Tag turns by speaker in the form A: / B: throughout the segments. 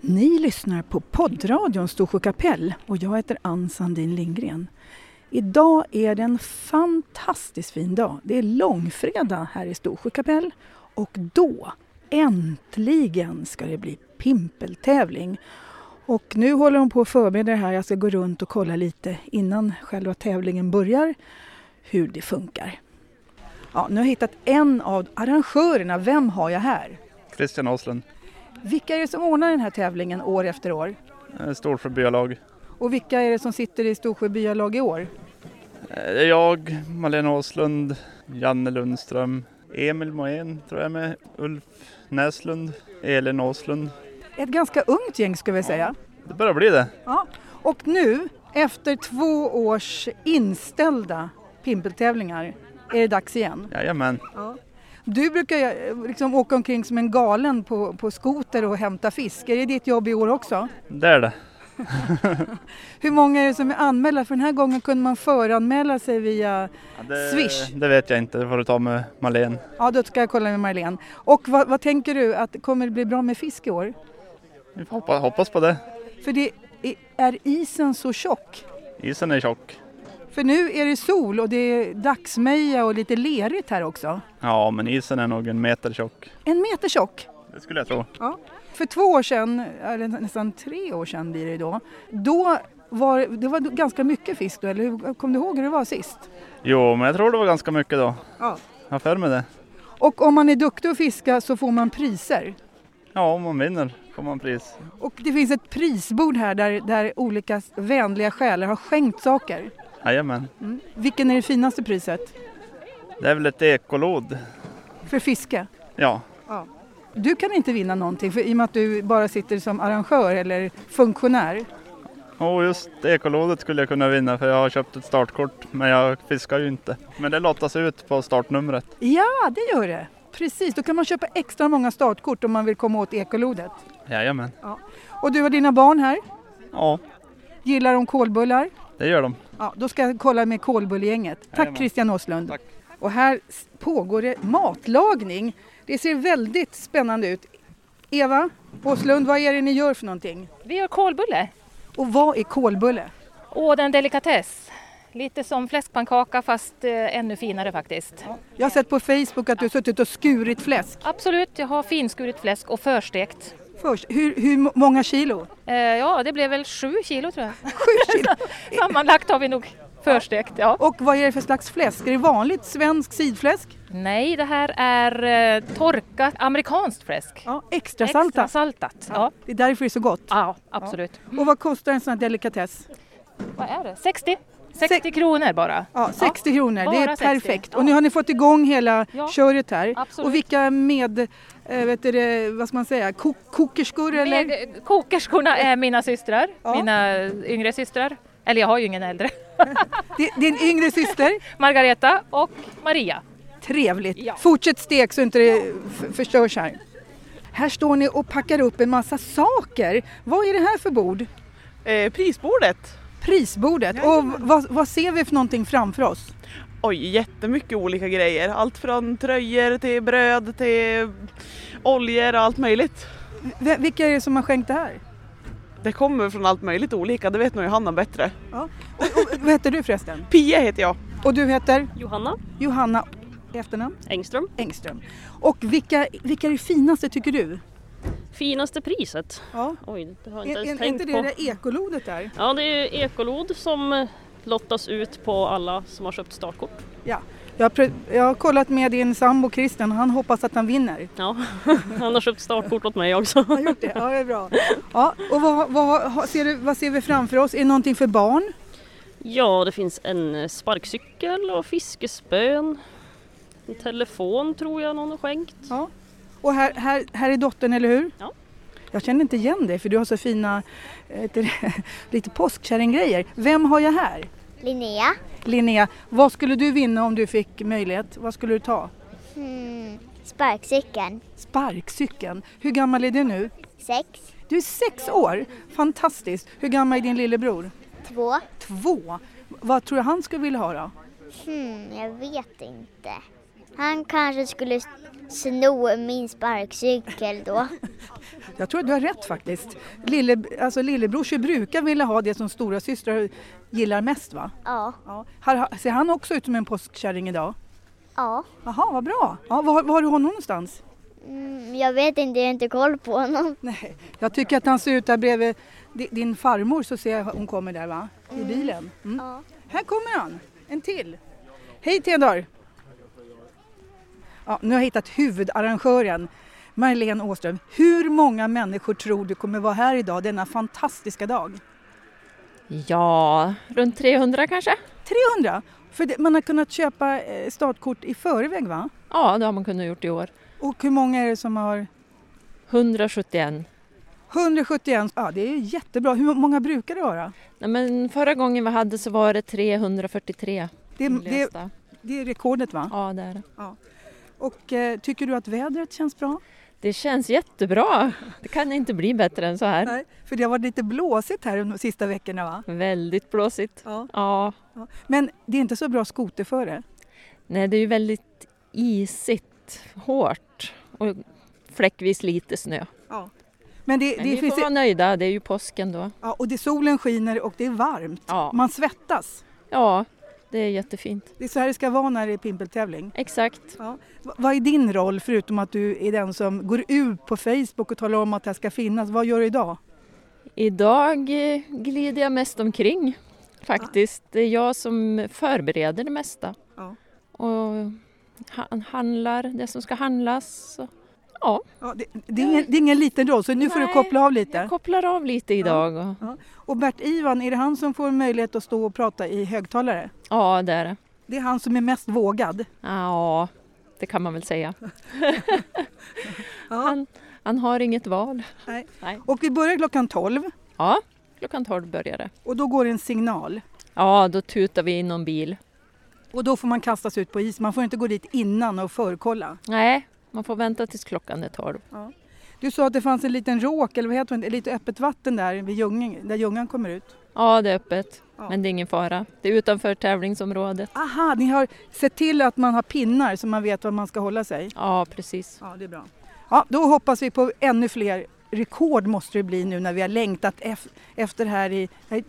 A: Ni lyssnar på poddradion Storsjö kapell och jag heter Ann Sandin Lindgren. Idag är det en fantastiskt fin dag. Det är långfredag här i Storsjö kapell och då, äntligen, ska det bli pimpeltävling. Och nu håller de på att förbereda det här. Jag ska gå runt och kolla lite innan själva tävlingen börjar hur det funkar. Ja, nu har jag hittat en av arrangörerna. Vem har jag här?
B: Christian Åslund,
A: Vilka är det som ordnar den här tävlingen år efter år?
B: eh, Storsjö byalag.
A: Och vilka är det som sitter i Storsjö byalag i år?
B: Eh, Det är jag, Malena Åslund, Janne Lundström, Emil Moen tror jag är med, Ulf Näslund, Elin Åslund.
A: Ett ganska ungt gäng ska vi säga.
B: Det börjar bli det.
A: Ja. Och nu, efter två års inställda pimpeltävlingar, är det dags igen.
B: Jajamän.
A: Du brukar ju, liksom åka omkring som en galen på, på skoter och hämta fisk. Är det ditt jobb i år också?
B: Det är det.
A: Hur många är det som är anmälda? För den här gången kunde man föranmäla sig via...
B: Ja, det
A: Swish.
B: Det vet jag inte, det får du ta med Malen.
A: Ja, då ska jag kolla med Marlene. Och vad, vad tänker du, att kommer det bli bra med fisk i år?
B: Vi får hoppa, hoppas på det.
A: För det är, är isen så tjock?
B: Isen är tjock.
A: För nu är det sol och det är dagsmeja och lite lerigt här också.
B: Ja, men isen är nog en meter tjock.
A: En meter tjock.
B: Det skulle jag tro.
A: För två år sedan, eller nästan tre år sedan blir det då, då var det var ganska mycket fisk då, eller hur? Kom du ihåg hur det var sist?
B: Jo, men jag tror det var ganska mycket då.
A: Ja.
B: Jag har för mig det.
A: Och om man är duktig att fiska så får man priser.
B: Ja, om man vinner får man pris.
A: Och det finns ett prisbord här där, där olika vänliga själar har skänkt saker.
B: Jajamän.
A: Mm. Vilken är det finaste priset?
B: Det är väl ett ekolod.
A: För fiske?
B: Ja,
A: Du kan inte vinna någonting för i och med att du bara sitter som arrangör eller funktionär.
B: Och just ekolodet skulle jag kunna vinna för jag har köpt ett startkort men jag fiskar ju inte. Men det lottas ut på startnumret.
A: Ja, det gör det! Precis, då kan man köpa extra många startkort om man vill komma åt ekolodet.
B: Jajamän.
A: Och du och dina barn här,
B: Ja,
A: gillar de kolbullar?
B: det gör de.
A: Ja, då ska jag kolla med kolbullgänget. Tack
B: Jajamän.
A: Christian Åslund!
B: Tack.
A: Och här s- pågår det matlagning. Det ser väldigt spännande ut. Eva Åslund, vad är det ni gör för någonting?
C: Vi gör kolbulle.
A: Och vad är kolbulle?
C: Åh, det är en delikatess. Lite som fläskpannkaka fast eh, ännu finare faktiskt.
A: Jag har sett på Facebook att du har suttit och skurit fläsk.
C: Absolut, jag har finskurit fläsk och förstekt.
A: Först, hur, hur många kilo?
C: Eh, ja, det blev väl sju kilo tror jag.
A: Sju kilo?
C: Sammanlagt har vi nog förstekt, ja.
A: Och vad är det för slags fläsk? Är det vanligt svensk sidfläsk?
C: Nej, det här är eh, torkat amerikanskt fläsk.
A: Ja, extra salta.
C: Extra saltat, ja.
A: Det är därför det är så gott.
C: Ja, absolut.
A: Och vad kostar en sån här delikatess?
C: Vad är det? 60? 60 kronor bara.
A: Ja, 60 kronor, det är
C: bara 60.
A: perfekt.
C: Ja.
A: Och nu har ni fått igång hela
C: Ja,
A: köret här.
C: absolut.
A: Och vilka med, eh, vet du, det, vad ska man säga, kok kokerskor eller?
C: Med, eh, kokerskorna är mina systrar,
A: Ja.
C: mina yngre systrar. Eller jag har ju ingen äldre.
A: Di- Din yngre syster?
C: Margareta och Maria.
A: Trevligt.
C: Ja.
A: Fortsätt stek så inte det f- förstörs här. Här står ni och packar upp en massa saker. Vad är det här för bord?
D: Eh, prisbordet.
A: Prisbordet. Och v- vad, vad ser vi för någonting framför oss?
D: Oj, jättemycket olika grejer. Allt från tröjor till bröd till oljor och allt möjligt.
A: V- vilka är det som har skänkt det här?
D: Det kommer från allt möjligt olika, det vet nog Johanna bättre.
A: Och, vad heter du förresten?
D: Pia heter jag.
A: Och du heter?
E: Johanna
A: Johanna i efternamn?
E: Engström.
A: Engström. Och vilka, vilka är det finaste tycker du?
E: Finaste priset.
A: Ja.
E: Oj, det har jag
A: Är,
E: inte ens
A: är, är
E: tänkt
A: inte det
E: på.
A: det ekolodet där?
E: Ja, det är ekolod som eh, lottas ut på alla som har köpt startkort.
A: Jag har, pr- jag har kollat med din sambo Christian, han hoppas att han vinner.
E: Ja, han har köpt startkort åt mig också.
A: Har gjort det? Ja, det är bra. Ja, och vad, vad, har- ser du, vad ser vi framför oss? Är det någonting för barn?
E: Ja, det finns en eh, sparkcykel och fiskespön. En telefon tror jag någon har skänkt.
A: Ja. Och här, här, här är dottern, eller hur?
E: Ja.
A: Jag känner inte igen dig för du har så fina, eh, heter det, lite påskkärringgrejer. Vem har jag här?
F: Linnea.
A: Linnea, vad skulle du vinna om du fick möjlighet? Vad skulle du ta?
F: Hmm. Sparkcykeln.
A: Sparkcykeln. Hur gammal är du nu?
F: Sex.
A: Du är sex år. Fantastiskt. Hur gammal är din lillebror?
F: Två.
A: Två. Vad tror du han skulle vilja ha då?
F: Hmm, jag vet inte. Han kanske skulle sno min sparkcykel då.
A: Jag tror att du har rätt faktiskt. Lille, alltså lillebrorsor brukar vilja ha det som stora systrar gillar mest va?
F: Ja.
A: Ja. Har- Ser han också ut som en påskkärring idag?
F: Ja.
A: Jaha, vad bra! Ja, var, var har du honom någonstans?
F: Mm, jag vet inte, jag har inte koll på honom.
A: Nej, jag tycker att han ser ut där bredvid di- din farmor så ser jag hon kommer där va? I bilen. Mm.
F: Ja.
A: Här kommer han, en till. Hej Tedar! Ja, nu har jag hittat huvudarrangören, Marlene Åström. Hur många människor tror du kommer vara här idag, denna fantastiska dag?
G: Ja, runt 300 kanske?
A: 300! För det, man har kunnat köpa eh, startkort i förväg va?
G: Ja, det har man kunnat gjort i år.
A: Och hur många är det som har
G: 171.
A: 171, ja det är ju jättebra. Hur många brukar det vara?
G: Nej, men förra gången vi hade så var det 343
A: Det, det,
G: inlästa.
A: det är rekordet va?
G: Ja, det är det.
A: Och eh, tycker du att vädret känns bra?
G: Det känns jättebra. Det kan inte bli bättre än så här.
A: Nej, för det har varit lite blåsigt här de sista veckorna va?
G: Väldigt blåsigt.
A: Ja.
G: Ja,
A: Men det är inte så bra skoterföre.
G: nej, det är ju väldigt isigt, hårt och fläckvis lite snö.
A: Ja. Men det,
G: Men
A: det
G: vi
A: finns
G: får vara nöjda, det är ju påsken då.
A: ja, och det solen skiner och det är varmt.
G: Ja,
A: Man svettas.
G: ja det är jättefint.
A: Det är så här det ska vara när det är pimpeltävling.
G: Exakt.
A: V- vad är din roll förutom att du är den som går ut på Facebook och talar om att det här ska finnas? Vad gör du idag?
G: Idag eh, glider jag mest omkring faktiskt. Det är jag som förbereder det mesta.
A: Ja.
G: Och han- handlar det som ska handlas. Så Ja,
A: Ja, det, det, är ingen, det är ingen liten roll så nu får du
G: Nej,
A: koppla av
G: jag
A: lite.
G: kopplar av lite idag. Och,
A: Och Bert-Ivan, är det han som får möjlighet att stå och prata i högtalare?
G: ja, det är det.
A: Det är han som är mest vågad.
G: Ja, det kan man väl säga. han, han har inget val.
A: Och vi börjar klockan 12
G: Ja, klockan 12 börjar det.
A: och då går det en signal.
G: Ja, då tutar vi in någon bil.
A: Och då får man kastas ut på is. Man får inte gå dit innan och förkolla.
G: Nej, man får vänta tills klockan är 12.
A: Du sa att det fanns en liten råk, eller vad heter det, lite öppet vatten där vid Ljunging, där Ljungan kommer ut.
G: Ja, det är öppet.
A: Ja.
G: Men det är ingen fara. Det är utanför tävlingsområdet.
A: Aha, ni har sett till att man har pinnar så man vet var man ska hålla sig.
G: Ja, precis.
A: Ja, det är bra. Ja, då hoppas vi på ännu fler rekord måste det bli nu när vi har längtat ef- efter det här i... Nej,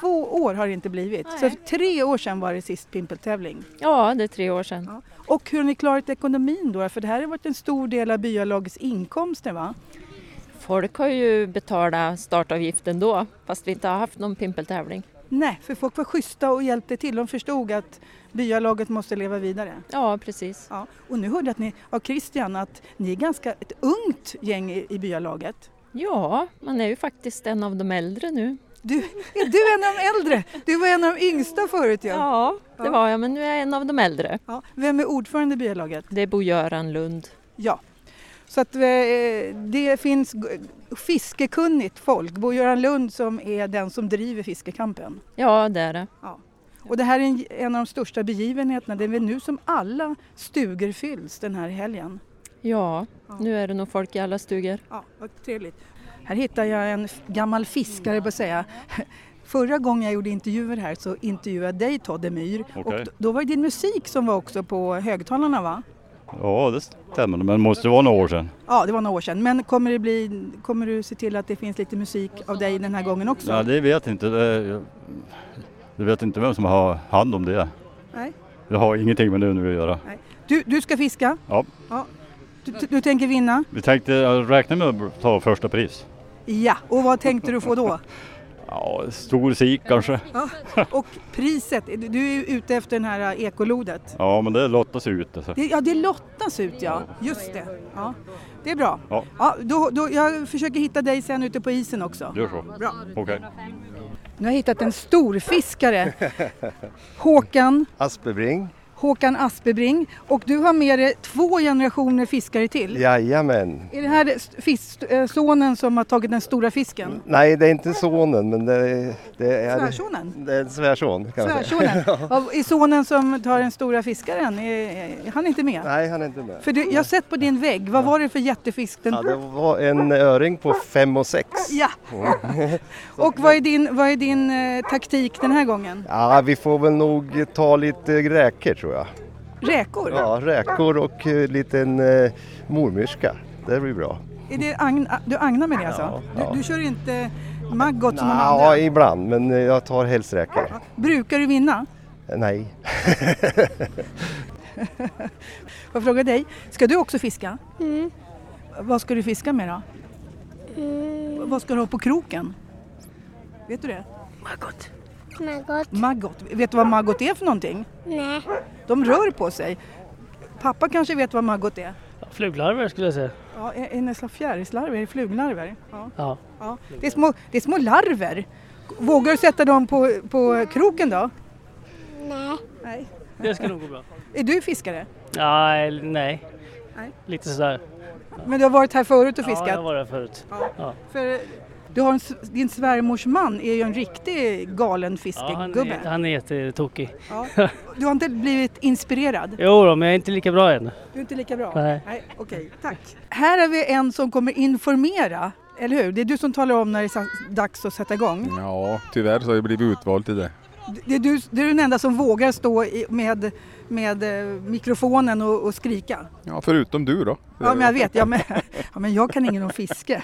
A: två år har det inte blivit.
G: Nej.
A: Så för tre år sedan var det sist pimpeltävling.
G: Ja, det är tre år sedan.
A: Ja. Och hur har ni klarat ekonomin då? För det här har varit en stor del av byalagets inkomster va?
G: Folk har ju betalat startavgiften då, fast vi inte har haft någon pimpeltävling.
A: Nej, för folk var schyssta och hjälpte till. De förstod att byalaget måste leva vidare.
G: Ja, precis.
A: Ja. Och nu hörde jag att ni, av Christian att ni är ganska ett ungt gäng i, i byalaget.
G: Ja, man är ju faktiskt en av de äldre nu.
A: Du, är du en av de äldre? Du var en av de yngsta förut ja.
G: Ja,
A: Ja.
G: det var jag, men nu är jag en av de äldre.
A: Ja, vem är ordförande i byalaget?
G: Det är Bo-Göran Lund.
A: Ja. Så att eh, det finns g- fiskekunnigt folk. Bo-Göran Lund som är den som driver fiskekampen.
G: Ja, det är det.
A: Och det här är en, en av de största begivenheterna. Det är väl nu som alla stugor fylls den här helgen.
G: Ja,
A: Ja.
G: nu är det nog folk i alla stugor.
A: Ja, vad trevligt. Här hittar jag en f- gammal fiskare, på att säga. Förra gången jag gjorde intervjuer här så intervjuade jag dig Todd Emyr. Och
H: Okej.
A: d- då var det din musik som var också på högtalarna va?
H: Ja, det stämmer. Men det måste vara några år sedan.
A: Ja, det var några år sedan. Men kommer, det bli, kommer du se till att det finns lite musik av dig den här gången också?
H: Ja, det vet jag inte. Det- Jag vet inte vem som har hand om det.
A: Nej.
H: Det har ingenting med nu att göra.
A: Du, du ska fiska?
H: Ja.
A: Du, du- du tänker vinna?
H: Vi tänkte jag räknar med att ta första pris.
A: Ja, och vad tänkte du få då?
H: Ja, stor sik kanske.
A: Och priset, du- du är ju ute efter den här eh, ekolodet.
H: Ja, men det lottas ju ut. Alltså.
A: Det, ja, det lottas ut ja, just det. Ja. Det är bra.
H: Ja.
A: då, då, jag försöker hitta dig sen ute på isen också.
H: Gör så.
A: Bra.
H: Okej.
A: Nu har jag hittat en storfiskare. Håkan,
I: Aspebring?
A: Mm. Håkan Aspebring. Och du har med dig två generationer fiskare till.
I: Jajamän.
A: Är det här st- fisk, eh, sonen som har tagit den stora fisken?
I: Nej, det är inte sonen, men det är... Det är
A: Svärsonen?
I: Det är en svärson kan man säga.
A: Svärsonen? Ja, Är sonen som tar den stora fiskaren, är, är han inte med?
I: Nej, han är inte med.
A: För du, jag har sett på din vägg, vad var det för jättefisk? Den...
I: Ja, det var en öring på fem och sex.
A: Ja. Och vad är din, vad är din eh, taktik den här gången?
I: Ja, vi får väl nog ta lite räkor tror jag.
A: Räkor?
I: Ja, räkor och eh, liten eh, mormyrska. Det blir bra.
A: Är det agn- du agnar med det alltså?
I: Ja.
A: Du, du kör inte maggot som de
I: Ja,
A: andra?
I: ibland, men eh, jag tar helst räkor.
A: Brukar du vinna?
I: Eh, Nej.
A: Får jag fråga dig, ska du också fiska? Vad ska du fiska med då? Vad ska du ha på kroken? Mm. Vet du det? Maggot.
F: Men gott.
A: Maggot. Vet du vad maggot är för någonting?
F: Nej.
A: De rör på sig. Pappa kanske vet vad maggot är?
J: Fluglarver skulle jag säga.
A: Ja, är är det nästan fjärilslarver? Är det fluglarver? Ja.
J: Ja.
A: Ja. Det, är små, det är små larver. Vågar du sätta dem på, på kroken då?
F: Nej.
A: Nej.
J: Det ska nog gå bra.
A: Är du fiskare?
J: Nej, nej.
A: Nej.
J: Lite sådär.
A: Men du har varit här förut och
J: Ja, jag
A: fiskat?
J: var där förut.
A: För du har en, s- din svärmors man är ju en riktig galen
J: Ja, han,
A: fiskegubbe.
J: är, han är jättetokig.
A: Ja. Du har inte blivit inspirerad?
J: Jo då, men jag är inte lika bra än.
A: Du är inte lika bra?
J: Nej.
A: Okej, tack. Här har vi en som kommer informera, eller hur? Det är du som talar om när det är sa- dags att sätta igång.
K: Mm. Ja, tyvärr så har jag blivit utvald till det.
A: Det är du, det är den enda som vågar stå i- med, med eh, mikrofonen och, och skrika.
K: Ja, förutom du då.
A: Ja, men jag vet. Ja, men, ja, men jag kan ingen om fiske.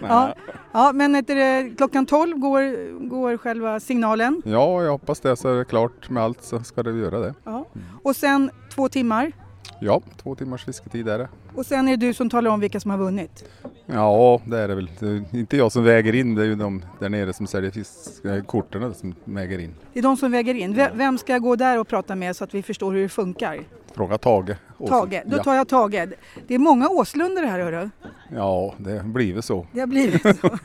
A: Ja, ja, men heter det, klockan 12 går, går själva signalen.
K: Ja, jag hoppas det så är det klart med allt så ska det göra det.
A: Ja. Och sen två timmar.
K: Ja, två timmars fisketid är det.
A: Och sen är det du som talar om vilka som har vunnit.
K: Ja, det är det väl. Det är inte jag som väger in, det är ju de där nere som säljer fisk- eh, korten som väger in.
A: Det är de som väger in. Ve- Vem ska jag gå där och prata med så att vi förstår hur det funkar?
K: Fråga Tage.
A: Tage, då tar
K: ja.
A: jag Tage. Det är många Åslunder här hörru.
K: ja, det blir väl så.
A: Det har blivit så.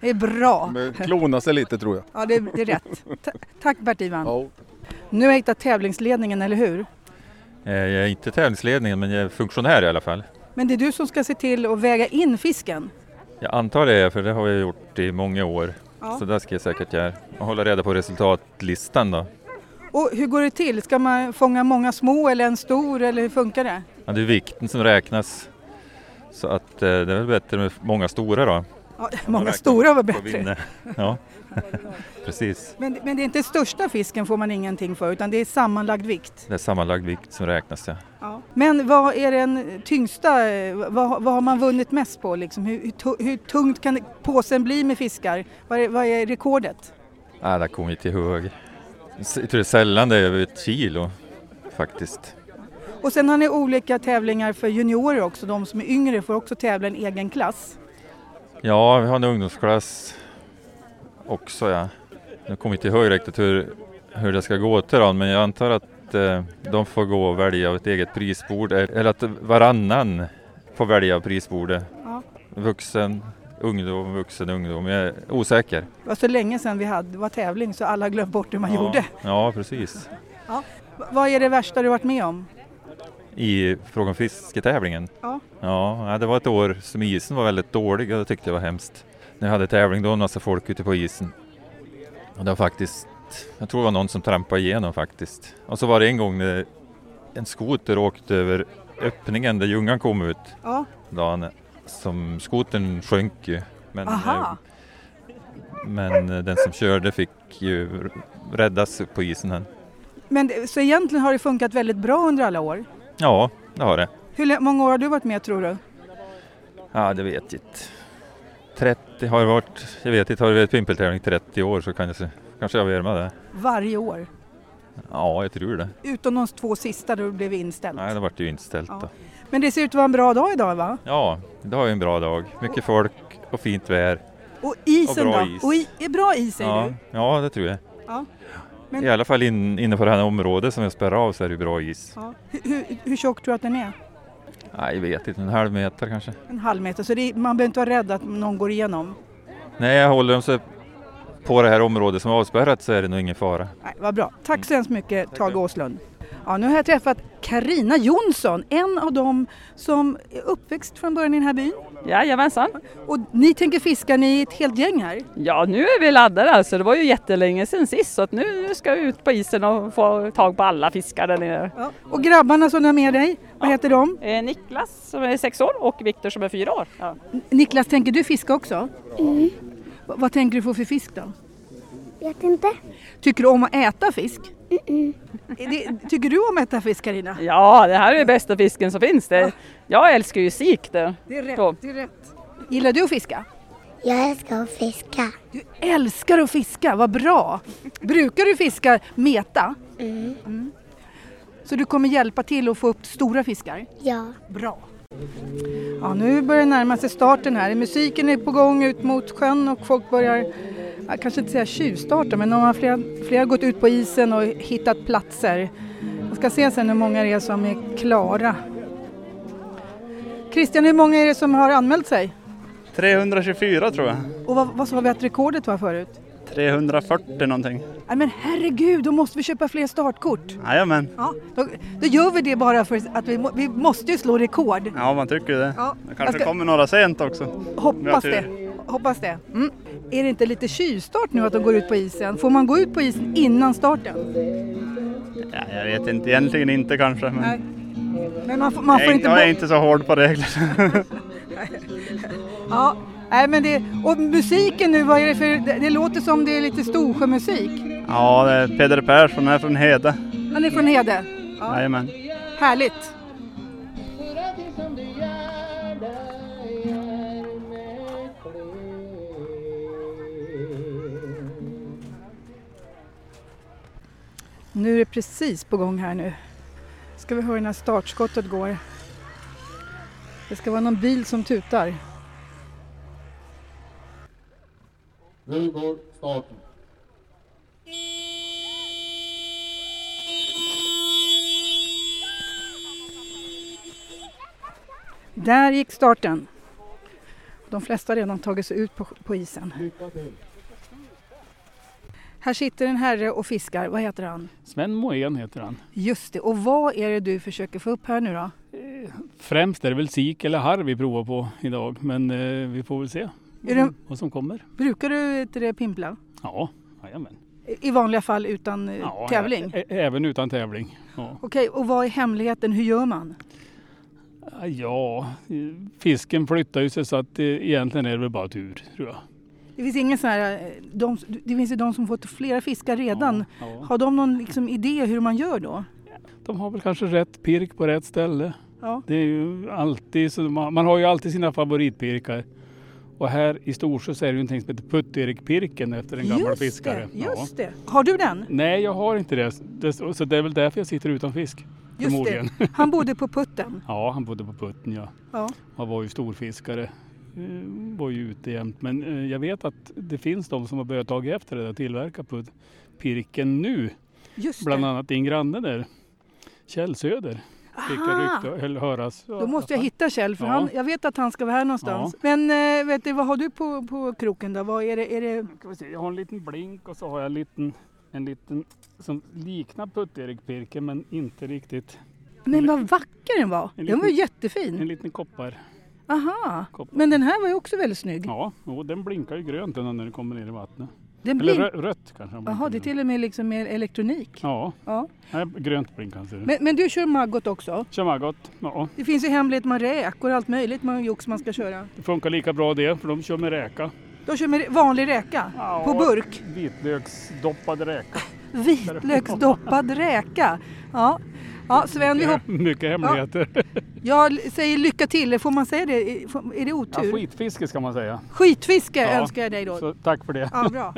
A: Det är bra.
K: Men klona sig lite tror jag.
A: Ja, det, det är rätt. Ta- tack Bert-Ivan.
K: Ja.
A: Nu har jag hittat tävlingsledningen, eller hur?
L: Eh, Jag är inte tävlingsledningen men jag är funktionär i alla fall.
A: Men det är du som ska se till att väga in fisken.
L: Jag antar det är jag, för det har jag gjort i många år.
A: Ja.
L: Så där ska jag säkert göra. Och hålla reda på resultatlistan då.
A: Och hur går det till? Ska man fånga många små eller en stor eller hur funkar det?
L: Ja, det är vikten som räknas. Så att eh, det är väl bättre med många stora då.
A: Ja, många stora var
L: Och
A: bättre.
L: vinna. Ja, precis.
A: Men, men det är inte största fisken får man ingenting för utan det är sammanlagd vikt.
L: Det är sammanlagd vikt som räknas ja.
A: Ja. Men vad är den tyngsta, eh, vad, vad har man vunnit mest på liksom? Hur, hur, tu- hur tungt kan påsen bli med fiskar? Vad är, vad är rekordet?
L: Nej, det kommer jag inte ihåg. S- Jag tror det är sällan det är över ett kilo faktiskt.
A: Och sen har ni olika tävlingar för juniorer också, de som är yngre får också tävla i en egen klass.
L: Ja, vi har en ungdomsklass också ja. Nu kommer jag inte ihåg riktigt hur, hur det ska gå till då, men jag antar att eh, de får gå och välja ett eget prisbord eh, eller att varannan får välja prisbordet.
A: Ja.
L: Vuxen, ungdom, vuxen, ungdom. Jag är osäker.
A: Det var så länge sedan vi hade, det var tävling så alla har glömt bort hur man
L: ja.
A: gjorde.
L: Ja, precis.
A: Ja. V- Vad är det värsta du varit med om?
L: I fråga om fisketävlingen?
A: Ja.
L: Ja, nej, det var ett år som isen var väldigt dålig och det tyckte jag var hemskt. När jag hade tävling då var det en massa folk ute på isen. Och det var faktiskt, jag tror det var någon som trampade igenom faktiskt. Och så var det en gång när en skoter åkte över öppningen där Ljungan kom ut.
A: Ja.
L: Dagen som skotern sjönk ju. Men,
A: Aha.
L: eh, men eh, den som körde fick ju räddas upp på isen. här.
A: Men, det- så egentligen har det funkat väldigt bra under alla år.
L: Ja, det har det.
A: Hur lä- många år har du varit med tror du?
L: Ja, det vet jag inte. 30 har det varit, jag vet inte, har det varit pimpeltävling 30 år så kan jag se. kanske jag värmar det.
A: Varje år?
L: Ja, jag tror det.
A: Utom de två sista då det blev inställt.
L: Nej, det vart ju inställt
A: Ja.
L: då.
A: Men det ser ut att vara en bra dag idag va?
L: Ja, det har ju en bra dag. Mycket folk och fint väder.
A: Och isen
L: Och bra
A: då?
L: is.
A: Och i, är bra is säger
L: Ja,
A: du?
L: ja, det tror jag.
A: Ja.
L: I alla fall in, inne på det här området som jag spärrar av så är det ju bra is.
A: Ja. Hur, hur, hur tjock tror du att den är?
L: Nej, jag vet inte, en halv meter kanske.
A: En halv meter, så det, är- man behöver inte vara rädd att någon går igenom.
L: Nej, jag håller dem så på det här området som är avspärrat så är det nog ingen fara.
A: Nej, vad bra. Tack
L: Mm.
A: så hemskt mycket Tage Åslund. Ja, nu har jag träffat Karina Jonsson, en av dem som är uppväxt från början i den här byn.
M: Jajamensan.
A: Och ni tänker fiska, ni är ett helt gäng här.
M: Ja, nu är vi laddade alltså. Det var ju jättelänge sedan sist så att nu nu ska vi ut på isen och få tag på alla fiskar där nere.
A: Och grabbarna som du har med dig, vad heter de?
M: Eh, Niklas som är sex år och Viktor som är fyra år. Ja.
A: Niklas, tänker du fiska också? Mm. Vad tänker du få för fisk då?
F: Vet inte.
A: Tycker du om att äta fisk?
F: Mm-mm.
A: Det, tycker du om att äta fisk Carina?
M: Ja, det här är den bästa fisken som finns. Det, jag älskar ju sik. Det.
A: Det är
M: Så.
A: rätt, det är rätt. Gillar du att fiska?
F: Jag älskar att fiska.
A: Du älskar att fiska, vad bra! Brukar du fiska meta?
F: Mm.
A: Så du kommer hjälpa till att få upp stora fiskar?
F: Ja.
A: Bra. Ja, nu börjar det närma sig starten här. Musiken är på gång ut mot sjön och folk börjar, ja, kanske inte säga tjuvstarta, men de har flera, flera gått ut på isen och hittat platser. Jag ska se sen hur många det är som är klara. Christian, hur många är det som har anmält sig?
B: 324 tror jag.
A: Och vad, vad sa vi att rekordet var förut?
B: 340 någonting.
A: Nej men herregud, då måste vi köpa fler startkort.
B: Jajamän.
A: Ja, då, då gör vi det bara för att vi, må- vi måste ju slå rekord.
B: Ja, man tycker ju det.
A: Ja,
B: Det
A: jag
B: kanske
A: ska-
B: kommer några sent också. Om jag har
A: Hoppas
B: tur.
A: det. Hoppas det. Mm. Är det inte lite tjuvstart nu att de går ut på isen? Får man gå ut på isen innan starten?
B: Ja, jag vet inte, egentligen inte kanske. Men
A: Nej. Men man får, man får
B: jag,
A: inte
B: jag är
A: bo-
B: inte så hård på reglerna.
A: Ja, nej, men det... Och musiken nu, vad är det för... Det, det låter som det är lite Storsjömusik.
B: ja, det är Peder Persson här från Hede.
A: Han är från Hede. Ja,
B: Jajamän.
A: härligt. Nu är det precis på gång här nu. Ska vi höra när startskottet går. Det ska vara någon bil som tutar.
N: Nu går starten.
A: Där gick starten. De flesta har redan tagit sig ut på, på isen. Här sitter en herre och fiskar. Vad heter han?
O: Sven Moen heter han.
A: Just det. Och vad är det du försöker få upp här nu då?
O: Främst är det väl sik eller harr vi provar på idag, men eh, vi får väl se
A: Är det-
O: vad som kommer.
A: Brukar du inte det pimpla?
O: Ja, jajamän.
A: I- I vanliga fall utan eh,
O: Ja,
A: tävling?
O: ä- ä- även utan tävling. Ja.
A: Okej, och vad är hemligheten? Hur gör man?
O: ja, eh, fisken flyttar ju sig så att eh, egentligen är det väl bara tur, tror jag.
A: Det finns ingen sån här, eh, de, det finns ju de som fått flera fiskar redan. Har de någon liksom idé hur man gör då?
O: De har väl kanske rätt pirk på rätt ställe.
A: Ja.
O: Det är ju alltid så, man, man har ju alltid sina favoritpirkar. Och här i Storsjö så är det ju någonting som heter Putt-Erik-pirken efter en gammal
A: Just
O: fiskare.
A: Det,
O: Ja.
A: just det. Har du den?
O: Nej, jag har inte det. det. Så det är väl därför jag sitter utan fisk.
A: Just
O: förmodligen.
A: det. Han bodde på putten.
O: Ja, han bodde på Putten ja.
A: Ja.
O: Han var ju storfiskare. Eh, Var ju ute jämt. Men eh, jag vet att det finns de som har börjat ta efter det där tillverka på pirken nu.
A: Just
O: Bland
A: det.
O: annat din granne där, Kjell Söder. Fick jag
A: Aha!
O: rykte, eller höras.
A: Då måste jag hitta Kjell för
O: Ja.
A: han, jag vet att han ska vara här någonstans. Men eh, vet du, vad har du på, på kroken då? Vad är det? Är det...
O: Ska vi se, Jag har en liten blink och så har jag en liten, en liten som liknar Putt-Erik-pirken men inte riktigt.
A: Men vad vacker den var!
O: En
A: Den var ju
O: liten-
A: jättefin.
O: En liten koppar.
A: Aha!
O: Koppar.
A: Men den här var ju också väldigt snygg.
O: Ja, och den blinkar ju grönt den när den kommer ner i vattnet.
A: Den
O: Eller
A: blink-
O: rö- rött kanske den blinkar
A: Jaha, det är
O: grönt.
A: till och med liksom mer elektronik.
O: Ja,
A: Ja.
O: Nej, grönt blinkar ser du.
A: Men, men du kör maggot också?
O: Kör maggot. Ja,
A: Det finns ju hemligt med räk och allt möjligt man jox man ska köra.
O: det funkar lika bra det för de kör med räka.
A: Då kör man vanlig räka på burk.
O: Vitlöksdoppad räka.
A: Vitlöksdoppad räka. Ja, ja Sven, vi hopp...
O: Mycket hemligheter.
A: jag säger lycka till. Får man säga det? Är det
O: Ja,
A: otur?
O: skitfiske ska man säga.
A: Skitfiske
O: Ja,
A: önskar jag dig då.
O: Så, tack för det.
A: Ja, bra.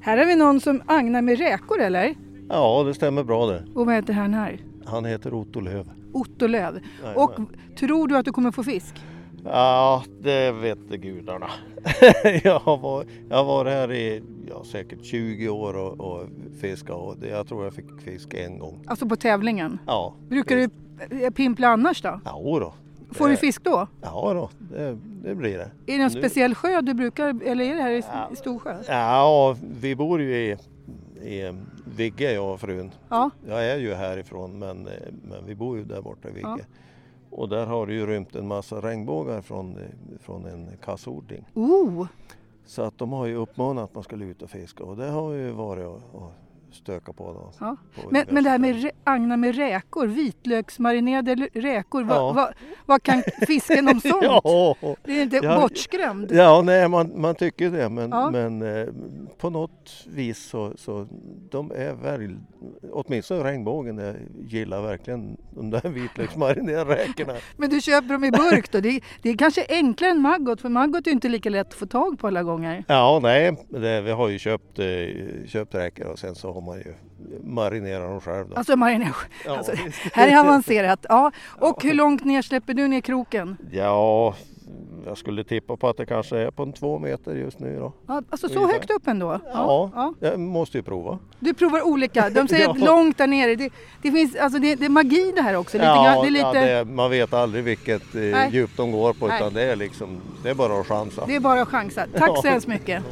A: Här har vi någon som agnar med räkor eller?
P: Ja, det stämmer bra det.
A: Och vad heter han här?
P: Han heter Otto Löv.
A: Otto Löv.
P: Jajamän.
A: Och tror du att du kommer få fisk?
P: Ja, det vet de gudarna. jag, har varit, jag har varit här i ja, säkert 20 år och, och fiskat och det- jag tror jag fick fisk en gång.
A: Alltså på tävlingen?
P: Ja,
A: Brukar du eh, pimpla annars då?
P: ja då.
A: Får du
P: Det-
A: fisk då?
P: Ja då, det, det blir det.
A: Är det någon
P: Nu-
A: speciell sjö du brukar, eller är det här i i Storsjö?
P: Ja, vi bor ju i, i eh, Vigge jag och frun.
A: Ja.
P: Jag är ju härifrån men, eh, men vi bor ju där borta i Vigge.
A: Ja.
P: Och där har det ju rymt en massa regnbågar från, eh, från en kassodling.
A: Oh,
P: Så att de har ju uppmanat att man skulle ut och fiska och det har vi ju varit och, och stöka på. Då,
A: Ja.
P: på
A: Men, men det här med rä- agnar med räkor, vitlöksmarinerade l- räkor, vad,
P: Ja.
A: vad, vad kan fisken om sånt?
P: Ja.
A: Blir inte
P: Ja.
A: bortskrämd?
P: Ja, nej, man, man tycker ju det men,
A: Ja.
P: men eh, på något vis så, så de är väl, åtminstone regnbågen, jag gillar verkligen de där vitlöksmarinerade räkorna.
A: Men du köper dem i burk då? Det är, det är kanske enklare än maggot, för maggot är ju inte lika lätt att få tag på alla gånger.
P: Ja, nej, det, vi har ju köpt, eh, köpt räkor och sen så har man ju marinerat dem själv. Då.
A: Alltså marinage.
P: Ja,
A: Alltså,
P: visst.
A: här är avancerat. Ja. Och hur långt ner släpper du ner kroken?
P: Ja, jag skulle tippa på att det kanske är på en två meter just nu då.
A: Ja, alltså så
P: Ungefär.
A: högt upp ändå?
P: Ja, jag måste ju prova.
A: Du provar olika. De säger
P: Ja.
A: att långt där nere. Det, det, finns, alltså det, det är magi det här också. Lite grann, det är lite,
P: ja, det, man vet aldrig vilket
A: Nej.
P: eh, djup de går på
A: Nej.
P: utan det är liksom, det är bara att chansa.
A: det är bara att chansa. Tack så
P: Ja.
A: hemskt mycket.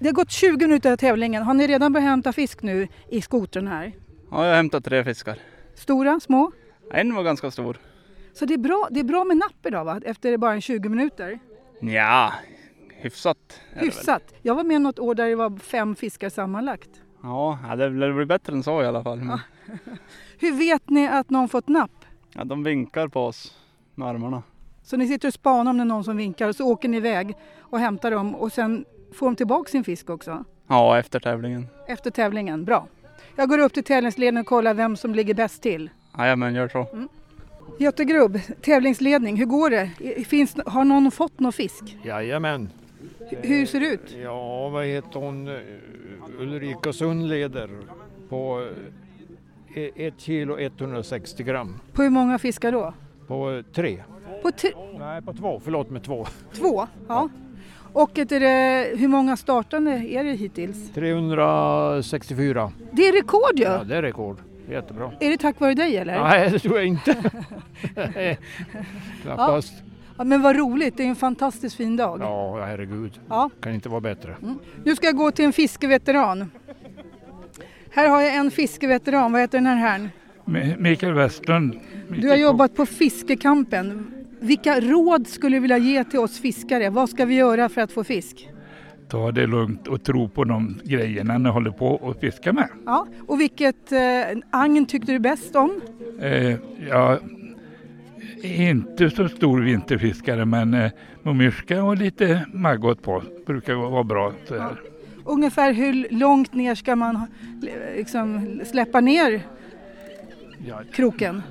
A: Det har gått 20 minuter av tävlingen. Har ni redan börjat hämta fisk nu i skotern här?
Q: Ja, jag har hämtat tre fiskar.
A: Stora, små?
Q: En var ganska stor.
A: Så det är bra, det är bra med napp idag va? Efter bara en 20 minuter?
Q: Ja, hyfsat. är det väl.
A: Hyfsat. Jag var med något år där det var fem fiskar sammanlagt.
Q: Ja, ja, det blir det blir bättre än så i alla fall. Men,
A: Hur vet ni att någon fått napp?
Q: ja, de vinkar på oss med armarna.
A: Så ni sitter och spanar om det är någon som vinkar och så åker ni iväg och hämtar dem och sen får de tillbaka sin fisk också
Q: Ja, efter tävlingen.
A: efter tävlingen. Bra. Jag går upp till tävlingsledningen och kollar vem som ligger bäst till.
Q: Jajamän, gör så.
A: Göte Grubb, tävlingsledning, hur går det? Finns, har någon fått någon fisk?
R: Jajamän. Eh,
A: Hur ser det ut?
R: Ja, vad heter hon? Eh, Ulrika Sundleder på eh, ett kilo 160 gram.
A: På hur många fiskar då?
R: På eh, tre.
A: På t-
R: Nej, på två. Förlåt, med två.
A: två? Ja. Och ett, är det, hur många startande är det hittills?
R: 364.
A: Det är rekord ju!
R: Ja, det är rekord. Jättebra.
A: Är det tack vare dig eller?
R: Nej, det tror jag inte. Nej, Knappast.
A: Ja, men vad roligt, det är en fantastiskt fin dag.
R: Ja, herregud.
A: Ja.
R: Kan inte vara bättre.
A: Nu ska jag gå till en fiskeveteran. Här har jag en fiskeveteran, vad heter den här herrn?
S: Mi- Mikael Westlund.
A: Du har jobbat på Fiskekampen. Vilka råd skulle du vilja ge till oss fiskare? Vad ska vi göra för att få fisk?
S: Ta det lugnt och tro på de grejerna ni håller på och fiska med.
A: Ja, och vilket eh, agn tyckte du bäst om?
S: Eh, jag är inte så stor vinterfiskare men eh, mummyrska och lite maggot på brukar vara bra. Så här.
A: Ungefär hur långt ner ska man ha- liksom, släppa ner kroken?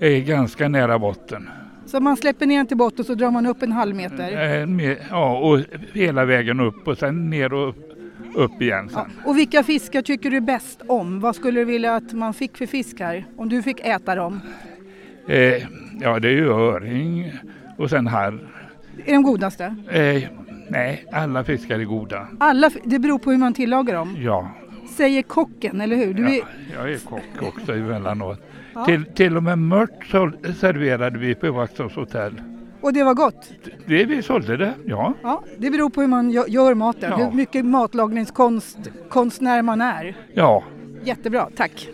S: Är ganska nära botten.
A: Så man släpper ner den till botten så drar man upp en halv meter.
S: Eh, med, ja, och hela vägen upp och sen ner och upp, upp igen. Sen.
A: Och vilka fiskar tycker du bäst om? Vad skulle du vilja att man fick för fisk här? Om du fick äta dem.
S: Eh, ja, det är ju öring och sen här.
A: Är de godaste?
S: Eh, nej, alla fiskar är goda.
A: Alla, f- det beror på hur man tillagar dem.
S: Ja,
A: Säger kocken, eller hur? Du är,
S: ja, jag är kock också emellanåt.
A: Ja.
S: Till, till och med mört så serverade vi på Vaxholms hotell.
A: och det var gott.
S: Det, vi sålde det, ja.
A: Ja, det beror på hur man gö- gör maten,
S: Ja.
A: hur mycket matlagningskonstnär man är.
S: ja.
A: Jättebra, tack.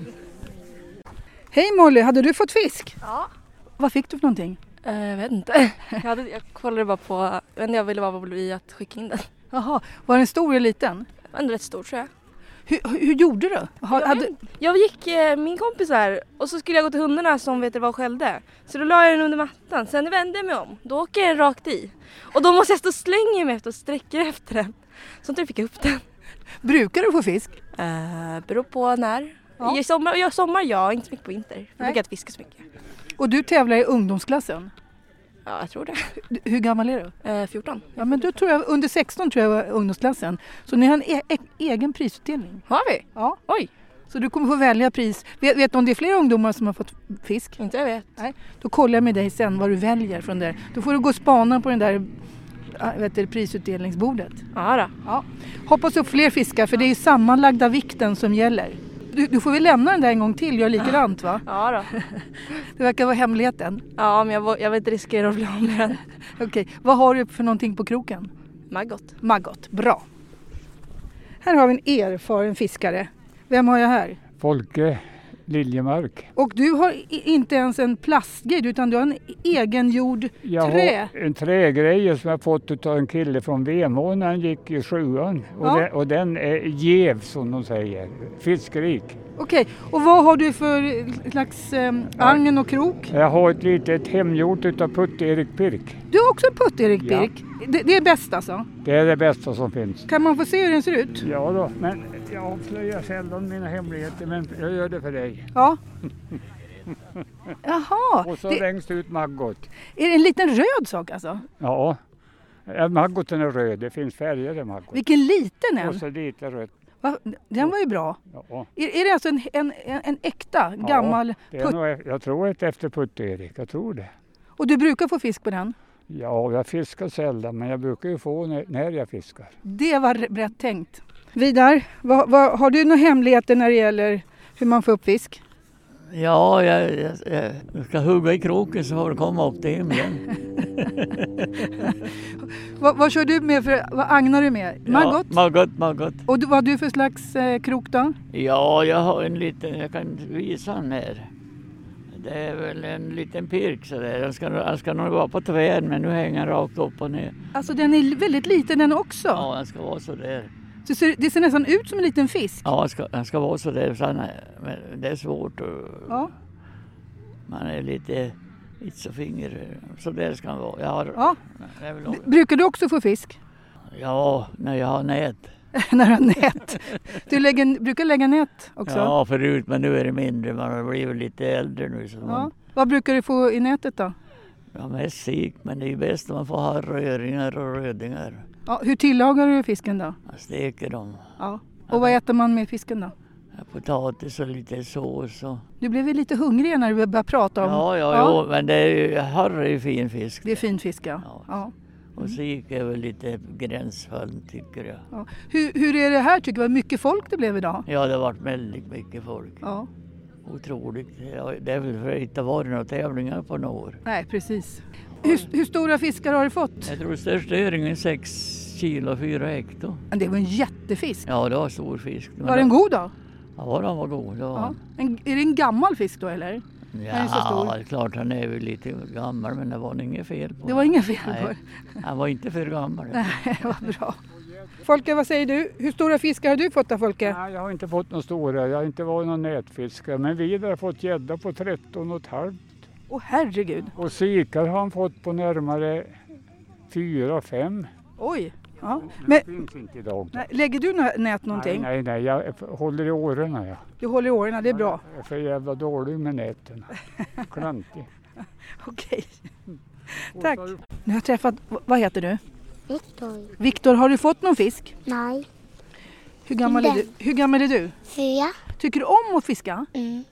A: Hej Molly, hade du fått fisk?
T: Ja. Eh,
A: Vad fick du för någonting?
T: Jag vet inte. Jag, hade, jag kollade bara på, jag vet inte, jag ville bara vara bli att skicka in den.
A: Jaha, var den stor eller liten?
T: Den är rätt stor tror jag.
A: Hur, hur- hur gjorde du? Har,
T: jag,
A: hade,
T: jag gick eh, min kompis här och så skulle jag gå till hundarna som vet du vad och skällde. Så då la jag den under mattan, sen vände jag mig om. Då åker den rakt i. Och då måste jag stå och slänga mig efter och sträcker efter den. Så inte jag fick upp den.
A: Brukar du få fisk?
T: Uh, beror på när. I sommar, jag sommar ja, inte så mycket på vinter. Jag brukar inte fiska så mycket.
A: och du tävlar i ungdomsklassen?
T: Ja, jag tror det.
A: Hur gammal är du?
T: Eh, 14.
A: Ja, men då tror jag, under 16 tror jag var ungdomsklassen. Så ni har en e- e- egen prisutdelning.
T: Har vi?
A: Ja.
T: Oj.
A: Så du kommer få välja pris. Vet, vet du om det är fler ungdomar som har fått fisk?
T: Inte jag vet.
A: Nej. Då kollar jag med dig sen vad du väljer från där. Då får du gå och spana på den där ja, vet du, prisutdelningsbordet.
T: Ja, då.
A: ja. Hoppas upp fler fiskar för det är ju sammanlagda vikten som gäller. Du, du får väl lämna den där en gång till, gör likadant va?
T: Ja då.
A: Det verkar vara hemligheten.
T: Ja, men jag, vå- jag vill inte riskera att bli av med den.
A: Okej, vad har du för någonting på kroken?
T: Maggot.
A: Maggot, bra. Här har vi en erfaren fiskare. Vem har jag här?
U: Folke Liljemark.
A: Och du har i- inte ens en plastgrej utan du har en egengjord
U: Jag
A: trä.
U: har en trägrej som jag fått av en kille från Vemån när han gick i sjuan. Och,
A: Ja.
U: den, och den är jäv som de säger, fiskrik.
A: Okej, och vad har du för slags eh, agn och krok?
U: Jag har ett litet hemgjort utav Putt-Erik Pirk.
A: Du har också en putt Erik
U: Ja.
A: Birk. Det, det är bäst alltså.
U: Det är det bästa som finns.
A: Kan man få se hur den ser ut?
U: Ja då, men jag avslöjar sällan mina hemligheter men jag gör det för dig.
A: Ja. Jaha,
U: Och så
A: det-
U: längst ut Maggot.
A: Är det en liten röd sak alltså?
U: Ja, Ja, Maggoten är röd, det finns färger i Maggot.
A: Vilken liten
U: Och
A: en!
U: så lite rött.
A: Va? Den var ju bra.
U: Ja.
A: Är, är det alltså en, en, en, en äkta gammal
U: det är
A: putt?
U: nog, e- jag tror ett efter Putt-Erik, jag tror det.
A: Och du brukar få fisk på den?
U: Ja, jag fiskar sällan men jag brukar ju få när, när jag fiskar.
A: Det var r- rätt tänkt. Vidar, vad, vad, har du några hemligheter när det gäller hur man får upp fisk?
V: Ja, jag, jag, jag ska hugga i kroken så får du komma upp till himlen.
A: Vad, vad kör du med för, vad agnar du med? Maggot?
V: Ja, Maggot, Maggot.
A: Och du, vad har du för slags eh, krok då?
V: Ja, jag har en liten, jag kan visa den här. Det är väl en liten pirk sådär. Den ska, nog- den ska nog vara på tvären men nu hänger den rakt upp och ner.
A: Alltså den är väldigt liten den också.
V: Ja, den ska vara sådär.
A: Så ser, det ser nästan ut som en liten fisk.
V: Ja, den ska, den ska vara sådär. Så den är, men det är svårt. att-
A: Ja.
V: Man är lite, inte så finger. Sådär ska den vara. Jag har,
A: Ja.
V: det är väl nog-
A: Brukar du också få fisk?
V: ja, när jag har nät.
A: när du har nät? Du lägger, brukar lägga nät också?
V: Ja, förut, men nu är det mindre. Man har blivit lite äldre nu. Så
A: Ja.
V: man,
A: Vad brukar du få i nätet då?
V: ja, mest sik, men det är ju bäst om man får ha röringar och rödingar.
A: Ja, hur tillagar du fisken då?
V: Man steker dem.
A: Ja. Och vad äter man med fisken då?
V: Potatis och lite sås. Och...
A: Du blev ju lite hungrig när du började prata om...
V: Ja, ja, Jo, men det är ju, harr är ju fin fisk.
A: Det är fin fisk ja. ja.
V: Och sik är väl lite gränsfall tycker jag.
A: ja. Hur, hur är det här tycker du? Vad mycket folk det blev idag?
V: Ja, det har varit väldigt mycket folk.
A: Ja.
V: Otroligt. Ja, Det är väl för att det inte har varit några tävlingar på några år.
A: Nej, precis. Hur, hur stora fiskar har du fått?
V: Jag tror största öringen är 6 kilo 4 hekto.
A: Men Det var en jättefisk.
V: Ja, det var stor fisk. Men
A: Var den god då?
V: Ja, den var god. Det var
A: Ja.
V: den.
A: En, är det en gammal fisk då eller? Den är så
V: Ja,
A: stor.
V: det är klart han är väl lite gammal men det var inget fel på
A: Det var inget fel på
V: Nej, Han var inte för gammal.
A: Nej, vad bra. Folke, vad säger du? Hur stora fiskar har du fått då Folke?
U: Nej, jag har inte fått några stora, jag har inte varit någon nätfiskare. Men Vidar har fått gädda på 13 och ett halvt.
A: Åh herregud.
U: Och sikar har han fått på närmare 4-5.
A: Oj. Ja.
U: Men... Det finns inte idag.
A: Nej, lägger du nå- nät någonting?
U: Nej, nej, nej, jag håller i åren. Jag.
A: Du håller i åren, det är bra.
U: jag är för jävla dålig med näten. Klantig.
A: Okej. Tack. Nu har jag träffat, v- vad heter du?
F: Viktor.
A: Viktor, har du fått någon fisk?
F: Nej.
A: Hur gammal är
F: Den.
A: du? Hur gammal är du?
F: Fyra.
A: Tycker du om att fiska?
F: Mm.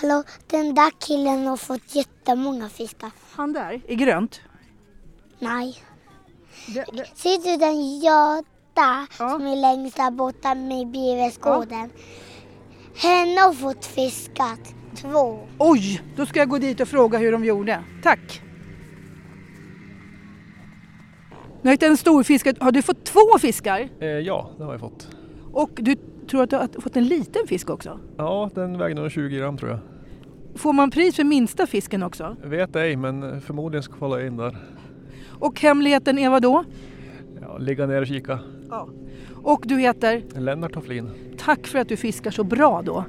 F: Hallå, den där killen har fått jättemånga fiskar.
A: Han där? I grönt?
F: Nej. Ser du den göta som är längst där borta med Birgersgården? Henne har fått fiskat två.
A: Oj, då ska jag gå dit och fråga hur de gjorde. Tack! Nu har jag hittat en stor fisk. Har du fått två fiskar?
W: Eh, ja, det har jag fått.
A: Och du tror att du har fått en liten fisk också?
W: Ja, den vägde nog 20 gram tror jag.
A: Får man pris för minsta fisken också?
W: Vet ej, men förmodligen ska jag kolla in där.
A: Och hemligheten är vad då?
W: Ja, ligga ner och kika.
A: Och du heter?
W: Lennart och Flin.
A: Tack för att du fiskar så bra då.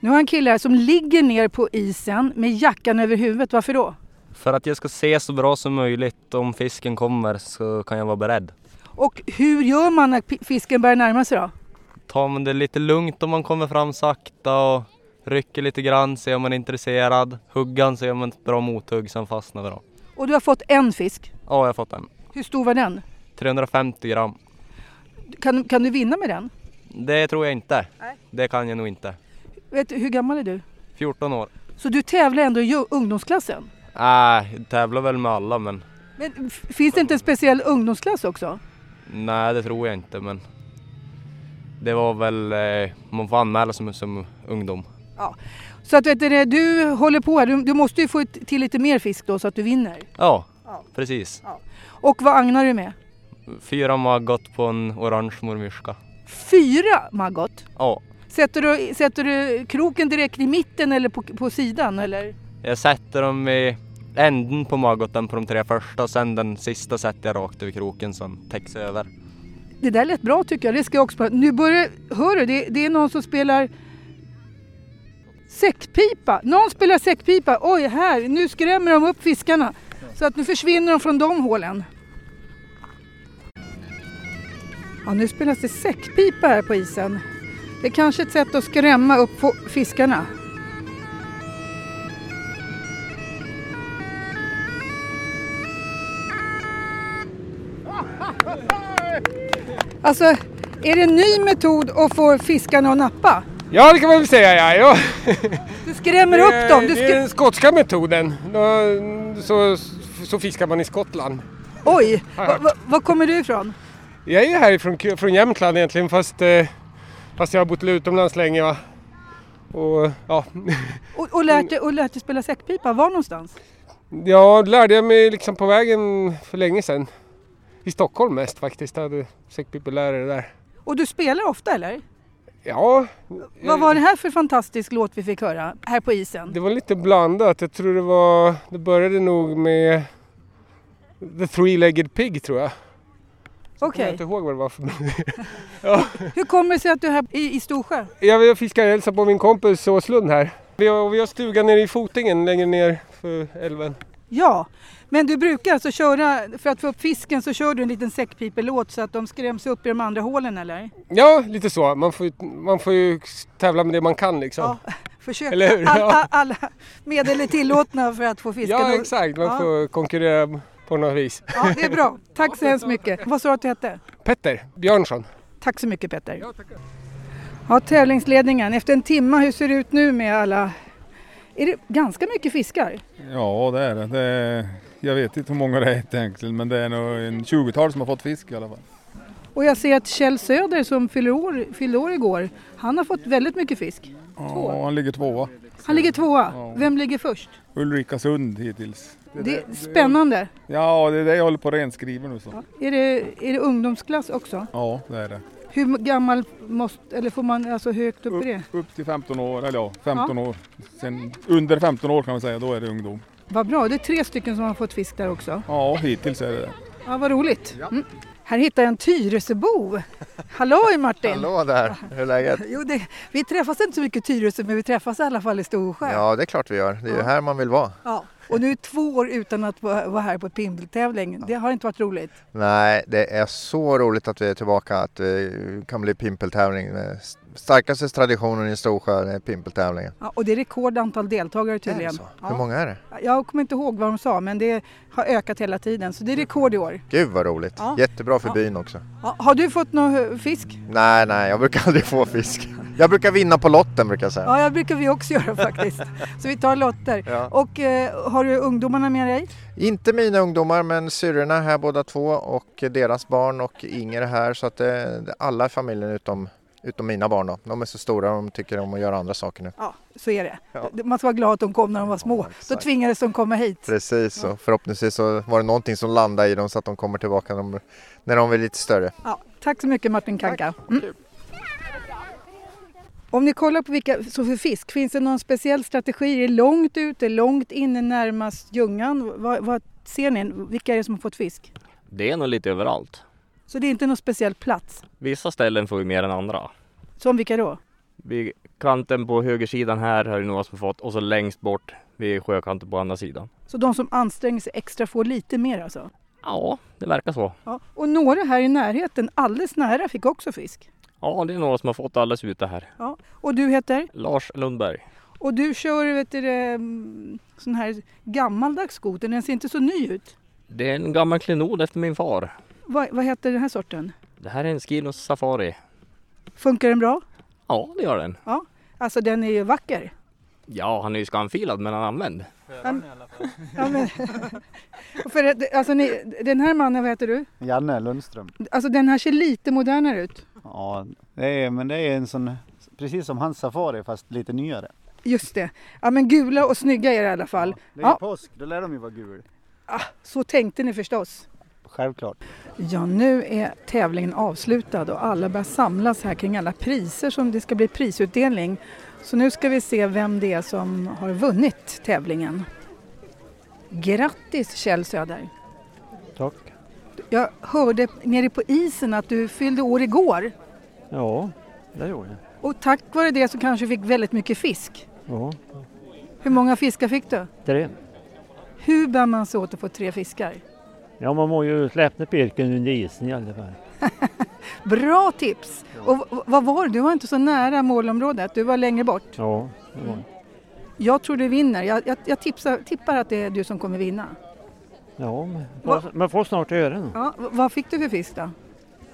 A: Nu har jag en kille här som ligger ner på isen med jackan över huvudet. Varför då?
X: För att jag ska se så bra som möjligt om fisken kommer så kan jag vara beredd.
A: Och hur gör man när pi- fisken börjar närma sig då?
X: Tar man det lite lugnt om man kommer fram sakta och rycker lite grann, ser om man är intresserad. Huggan, ser om man ett bra mothugg, sen fastnar vi då.
A: Och du har fått en fisk.
X: Ja, jag har fått en.
A: Hur stor var den?
X: 350 gram.
A: Kan, kan du vinna med den?
X: Det tror jag inte. Det kan jag nog inte.
A: Vet du, hur gammal är du?
X: 14 år.
A: Så du tävlar ändå i ju- ungdomsklassen?
X: Nej, Äh, jag tävlar väl med alla men
A: Men f- finns det inte en speciell ungdomsklass också?
X: nej det tror jag inte men det var väl, eh, man får anmäla sig som, som ungdom.
A: Så att vet du, det, du håller på här, du, du måste ju få ett- till lite mer fisk då så att du vinner.
X: Ja, precis.
A: Och vad agnar du med?
X: Fyra maggot på en orange mormyrska.
A: Fyra maggot?
X: Ja,
A: Sätter du, sätter du kroken direkt i mitten eller på, på sidan? Eller?
X: Jag sätter dem i änden på maggoten på de tre första och sen den sista sätter jag rakt över kroken som täcks över.
A: Det där lät bra tycker jag. Det ska jag också pröva. Nu börjar... Hör du, det, det är någon som spelar säckpipa. Någon spelar säckpipa. Oj, här. Nu skrämmer de upp fiskarna. Så att nu försvinner de från de hålen. Ja, nu spelas det säckpipa här på isen. Det är kanske ett sätt att skrämma upp fo- fiskarna. Alltså, är det en ny metod att få fiskarna att nappa?
D: Ja, det kan man väl säga ja. ja.
A: Du skrämmer upp dem. Du
D: Det är
A: skrä...
D: den skotska metoden. Då- Så, så fiskar man i Skottland.
A: Oj, va, va, var kommer du ifrån?
D: Jag är ju härifrån K- från Jämtland egentligen fast, eh, fast jag har bott utomlands länge. Va? Och, ja.
A: Och, och, lärt dig, och lärt dig spela säckpipa, var någonstans?
D: ja, det lärde jag mig liksom på vägen för länge sedan. I Stockholm mest faktiskt. Jag hade säckpipelärare där.
A: Och du spelar ofta eller?
D: Ja,
A: Vad
D: Eh.
A: var det här för fantastisk låt vi fick höra här på isen?
D: Det var lite blandat. Jag tror det var... Det började nog med The Three-Legged Pig tror jag.
A: Okej.
D: Jag kommer inte ihåg vad det var för
A: Hur kommer det sig att du är här i, i Storsjö?
D: Jag vill fiska och hälsa på min kompis Åslund här. Vi har, vi har stuga nere i Fotingen längre ner för älven.
A: Ja, men du brukar alltså köra, för att få upp fisken så kör du en liten säckpipelåt så att de skräms upp i de andra hålen eller?
D: Ja, lite så. Man får, ju- man får ju tävla med det man kan liksom.
A: Försök
D: Eller hur?
A: all,
D: Ja.
A: all, alla medel är tillåtna för att få fisken
D: Ja,
A: att-
D: exakt. Man
A: Ja.
D: får konkurrera på något vis.
A: ja, det är bra. Tack så hemskt mycket. Vad sa du att du hette?
D: Petter Björnsson.
A: Tack så mycket Petter. Ja, tävlingsledningen, efter en timma, hur ser det ut nu med alla? Är det ganska mycket fiskar?
K: Ja, det är det. det är, jag vet inte hur många det är egentligen, men det är nog en 20-tal som har fått fisk i alla fall.
A: Och jag ser att Kjell Söder som fyllde år, fyllde år igår, han har fått väldigt mycket fisk.
K: Ja, han ligger tvåa.
A: Han ligger tvåa. Vem ligger först?
K: Ulrika Sund hittills.
A: Det är spännande.
K: Ja, det är det jag håller på och renskriver nu. Så.
A: Är det, är det ungdomsklass också?
K: Ja, det är det.
A: Hur gammal måste, eller får man, alltså hur högt upp är det?
K: Upp till 15 år, eller ja, 15
A: Ja.
K: år. Sen, under 15 år kan man säga, då är det ungdom.
A: Vad bra, det är tre stycken som har fått fisk där också.
K: Ja, hittills är det det.
A: Ja, vad roligt. Mm. Här hittar jag en Tyresöbo. Halloj Martin!
E: Hallå där, hur är läget?
A: Jo, det, vi träffas inte så mycket i Tyresö, men vi träffas i alla fall i Storsjö. Ja.
E: Ja, det är klart vi gör. Det är ju här man vill vara.
A: Och nu två år utan att vara vara här på pindeltävling. Det har inte varit roligt.
E: Nej, det är så roligt att vi är tillbaka, att det kan bli pimpeltävling. Den Starkaste traditionen i Storsjö det är pimpeltävlingen.
A: Ja, och det är rekord antal deltagare tydligen.
E: så?
A: Ja.
E: Hur många är det?
A: Jag kommer inte ihåg vad de sa, men det har ökat hela tiden. Så det är rekord i år.
E: Gud vad roligt!
A: Ja.
E: Jättebra för byn också.
A: Ja, har du fått någon hö- fisk?
E: Nej, nej, jag brukar aldrig få fisk. Jag brukar vinna på lotten brukar jag säga.
A: Ja, det brukar vi också göra faktiskt. Så vi tar lotter.
E: Ja.
A: Och eh, har du ungdomarna med dig?
E: Inte mina ungdomar, men syrrorna är här båda två och deras barn och Inger är här. Så att det, det är alla i familjen utom, utom mina barn då. De är så stora de tycker om att göra andra saker nu.
A: Ja, så är det. Man ska vara glad att de kom när de var små. Då tvingades de komma hit.
E: Precis, och förhoppningsvis så var det någonting som landade i dem så att de kommer tillbaka när de, när de är lite större.
A: Ja, tack så mycket Martin Kanka. Mm. Om ni kollar på vilka så för fisk, finns det någon speciell strategi? Är det långt ute, långt inne närmast ljungan? Vad, vad ser ni? Vilka är det som har fått fisk?
Y: Det är nog lite överallt.
A: Så det är inte någon speciell plats?
Y: Vissa ställen får ju mer än andra.
A: Som vilka då?
Y: Vid kanten på högersidan här har det några som fått och så längst bort vid sjökanten på andra sidan.
A: Så de som anstränger sig extra får lite mer alltså?
Y: Ja, det verkar så.
A: ja. Och några här i närheten, alldeles nära, fick också fisk.
Y: Ja, det är några som har fått alldeles ute här.
A: Ja. Och du heter?
Y: Lars Lundberg.
A: Och du kör vet du, det, mm, sån här gammaldags skoter, den ser inte så ny ut.
Y: Det är en gammal klenod efter min far.
A: Vad, vad heter den här sorten?
Y: Det här är en Skinos Safari.
A: Funkar den bra?
Y: Ja, det gör den.
A: Ja, alltså den är ju vacker.
Y: Ja, han är ju skamfilad men han är använd.
A: Ja, men, Och för att, alltså, ni, den här mannen, vad heter du?
Z: Janne Lundström.
A: Alltså den här ser lite modernare ut.
Z: Ja, det är, men det är en sån, precis som hans safari fast lite nyare.
A: Just det. Ja men gula och snygga är det i alla fall.
Z: Det är ju
A: Ja,
Z: påsk, då lär de ju vara gul.
A: så tänkte ni förstås.
Z: Självklart.
A: Ja, nu är tävlingen avslutad och alla börjar samlas här kring alla priser som det ska bli prisutdelning. Så nu ska vi se vem det är som har vunnit tävlingen. Grattis Kjell Söder!
H: Tack.
A: Jag hörde nere på isen att du fyllde år igår
H: Ja, det gjorde jag.
A: och tack vare det så kanske du fick väldigt mycket fisk.
H: Ja,
A: Hur många fiskar fick du?
H: tre.
A: Hur bär man sig åt att få tre fiskar?
H: Ja, man må ju släppa pirken under isen i alla fall.
A: Bra tips! Och v- vad var det? Du var inte så nära målområdet, du var längre bort.
H: Ja, det var det.
A: Jag tror du vinner. Jag, jag, jag tipsar, tippar att det är du som kommer vinna.
H: ja men får- man får snart höra nu.
A: Ja, v- vad fick du för fisk då?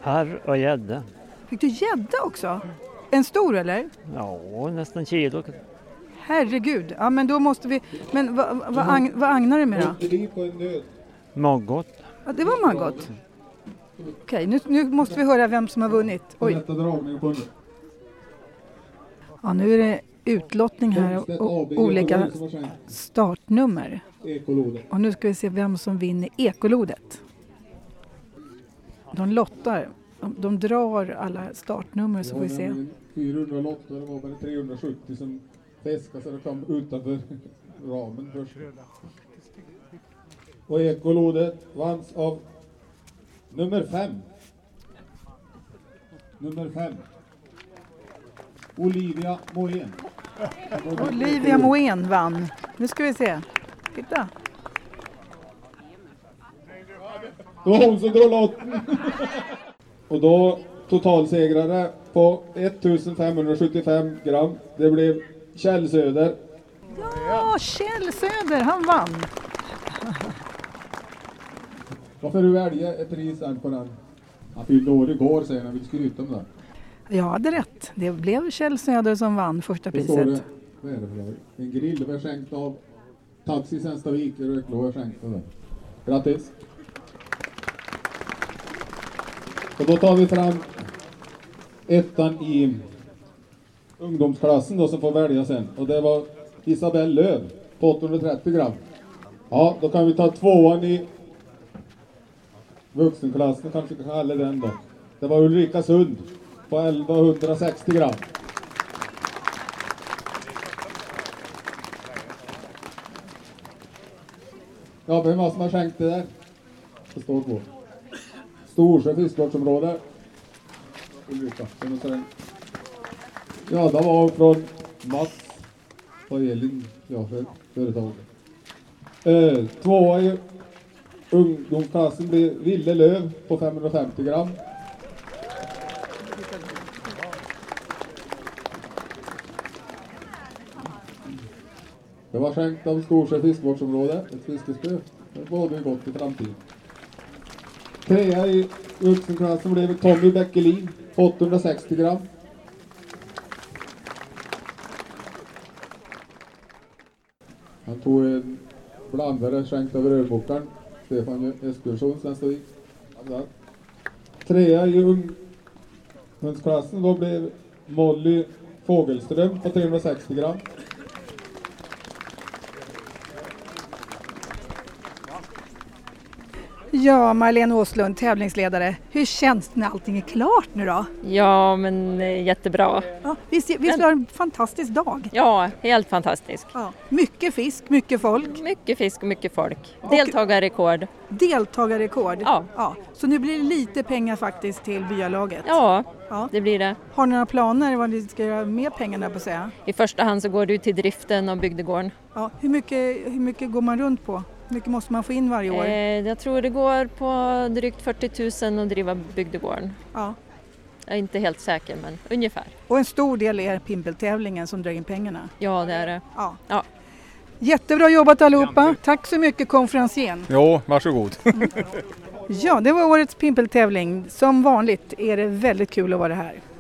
H: Harr och gädda.
A: Fick du gädda också? En stor eller?
H: Ja, nästan kilo.
A: Herregud, ja men då måste vi... Men vad va, va, agn- vad agnar du med då?
H: Maggot.
A: Ja, det var maggot. Okej, nu, nu måste vi höra vem som har vunnit. Oj. Ja, nu är det utlottning här och, och olika startnummer.
N: Ekolodet.
A: Och nu ska vi se vem som vinner ekolodet. De lottar. De, de drar alla startnummer så får vi se.
N: 400 lotter, det var bara 370 som fiskade så det kom utanför ramen först. Och ekolodet vanns av nummer fem. Nummer fem. Olivia Moen.
A: Olivia Moen vann. Nu ska vi se. Titta.
N: Det var hon som drog lotten. Och då totalsegrare på 1575 gram. Det blev Kjell Söder.
A: Ja, Kjell Söder, han vann.
N: Varför du välja ett pris här på den? Han fyllde år igår säger han, vill skryta om det.
A: Jag hade rätt. Det blev Kjell Söder som vann första
N: Då står
A: priset.
N: det, vad är det för lag? En grill var skänkt av Taxi Sänstavik i Rögle var skänkt av det. Grattis! Och då tar vi fram ettan i ungdomsklassen då som får välja sen. Och det var Isabelle Löv på 830 gram. Ja, då kan vi ta tvåan i vuxenklassen kanske vi kan kalla den då. Det var Ulrika Sund på 1160 gram. Ja, vem var det som har skänkt det där? Det står på. Storsjö fiskevårdsområde. Ulrika, det måste den. Ja, det var från Mats och Elin, ja, för företaget. Eh, tvåa i ungdomsklassen blir Ville Löv på 550 gram. Det var skänkt av Storsjö fiskevårdsområde, ett fiskespö. Det bådar ju gott i framtiden. Trea i vuxenklassen blev Tommy Bäckelin, 860 gram. Han tog en blandare skänkt av rörmokaren, Stefan Esbjörnsson, Svenstavik. Blandad. Trea i ungdomsklassen då blev Molly Fågelström på 360 gram.
A: Ja, Marlene Åslund, tävlingsledare. Hur känns det när allting är klart nu då?
I: Ja, men eh, jättebra.
A: Ja, visst visst var det en fantastisk dag?
I: Ja, helt fantastisk.
A: Ja, mycket fisk, mycket folk.
I: Mycket fisk och mycket folk. Deltagarrekord.
A: Deltagarrekord.
I: Ja.
A: Så nu blir det lite pengar faktiskt till byalaget.
I: Ja, det blir det.
A: Har ni några planer vad ni ska göra med pengarna på att säga?
I: I första hand så går det ju till driften av bygdegården.
A: Ja, hur, mycket, hur mycket går man runt på? Hur mycket måste man få in varje år?
I: Eh, jag tror det går på drygt 40 000 att driva bygdegården.
A: Ja.
I: Jag är inte helt säker, men ungefär.
A: Och en stor del är pimpeltävlingen som drar in pengarna.
I: Ja, det är det.
A: Ja.
I: ja.
A: Jättebra jobbat allihopa! Tack så mycket Mm. konferensen.
K: Jo, varsågod.
A: Ja, det var årets pimpeltävling. Som vanligt är det väldigt kul att vara här.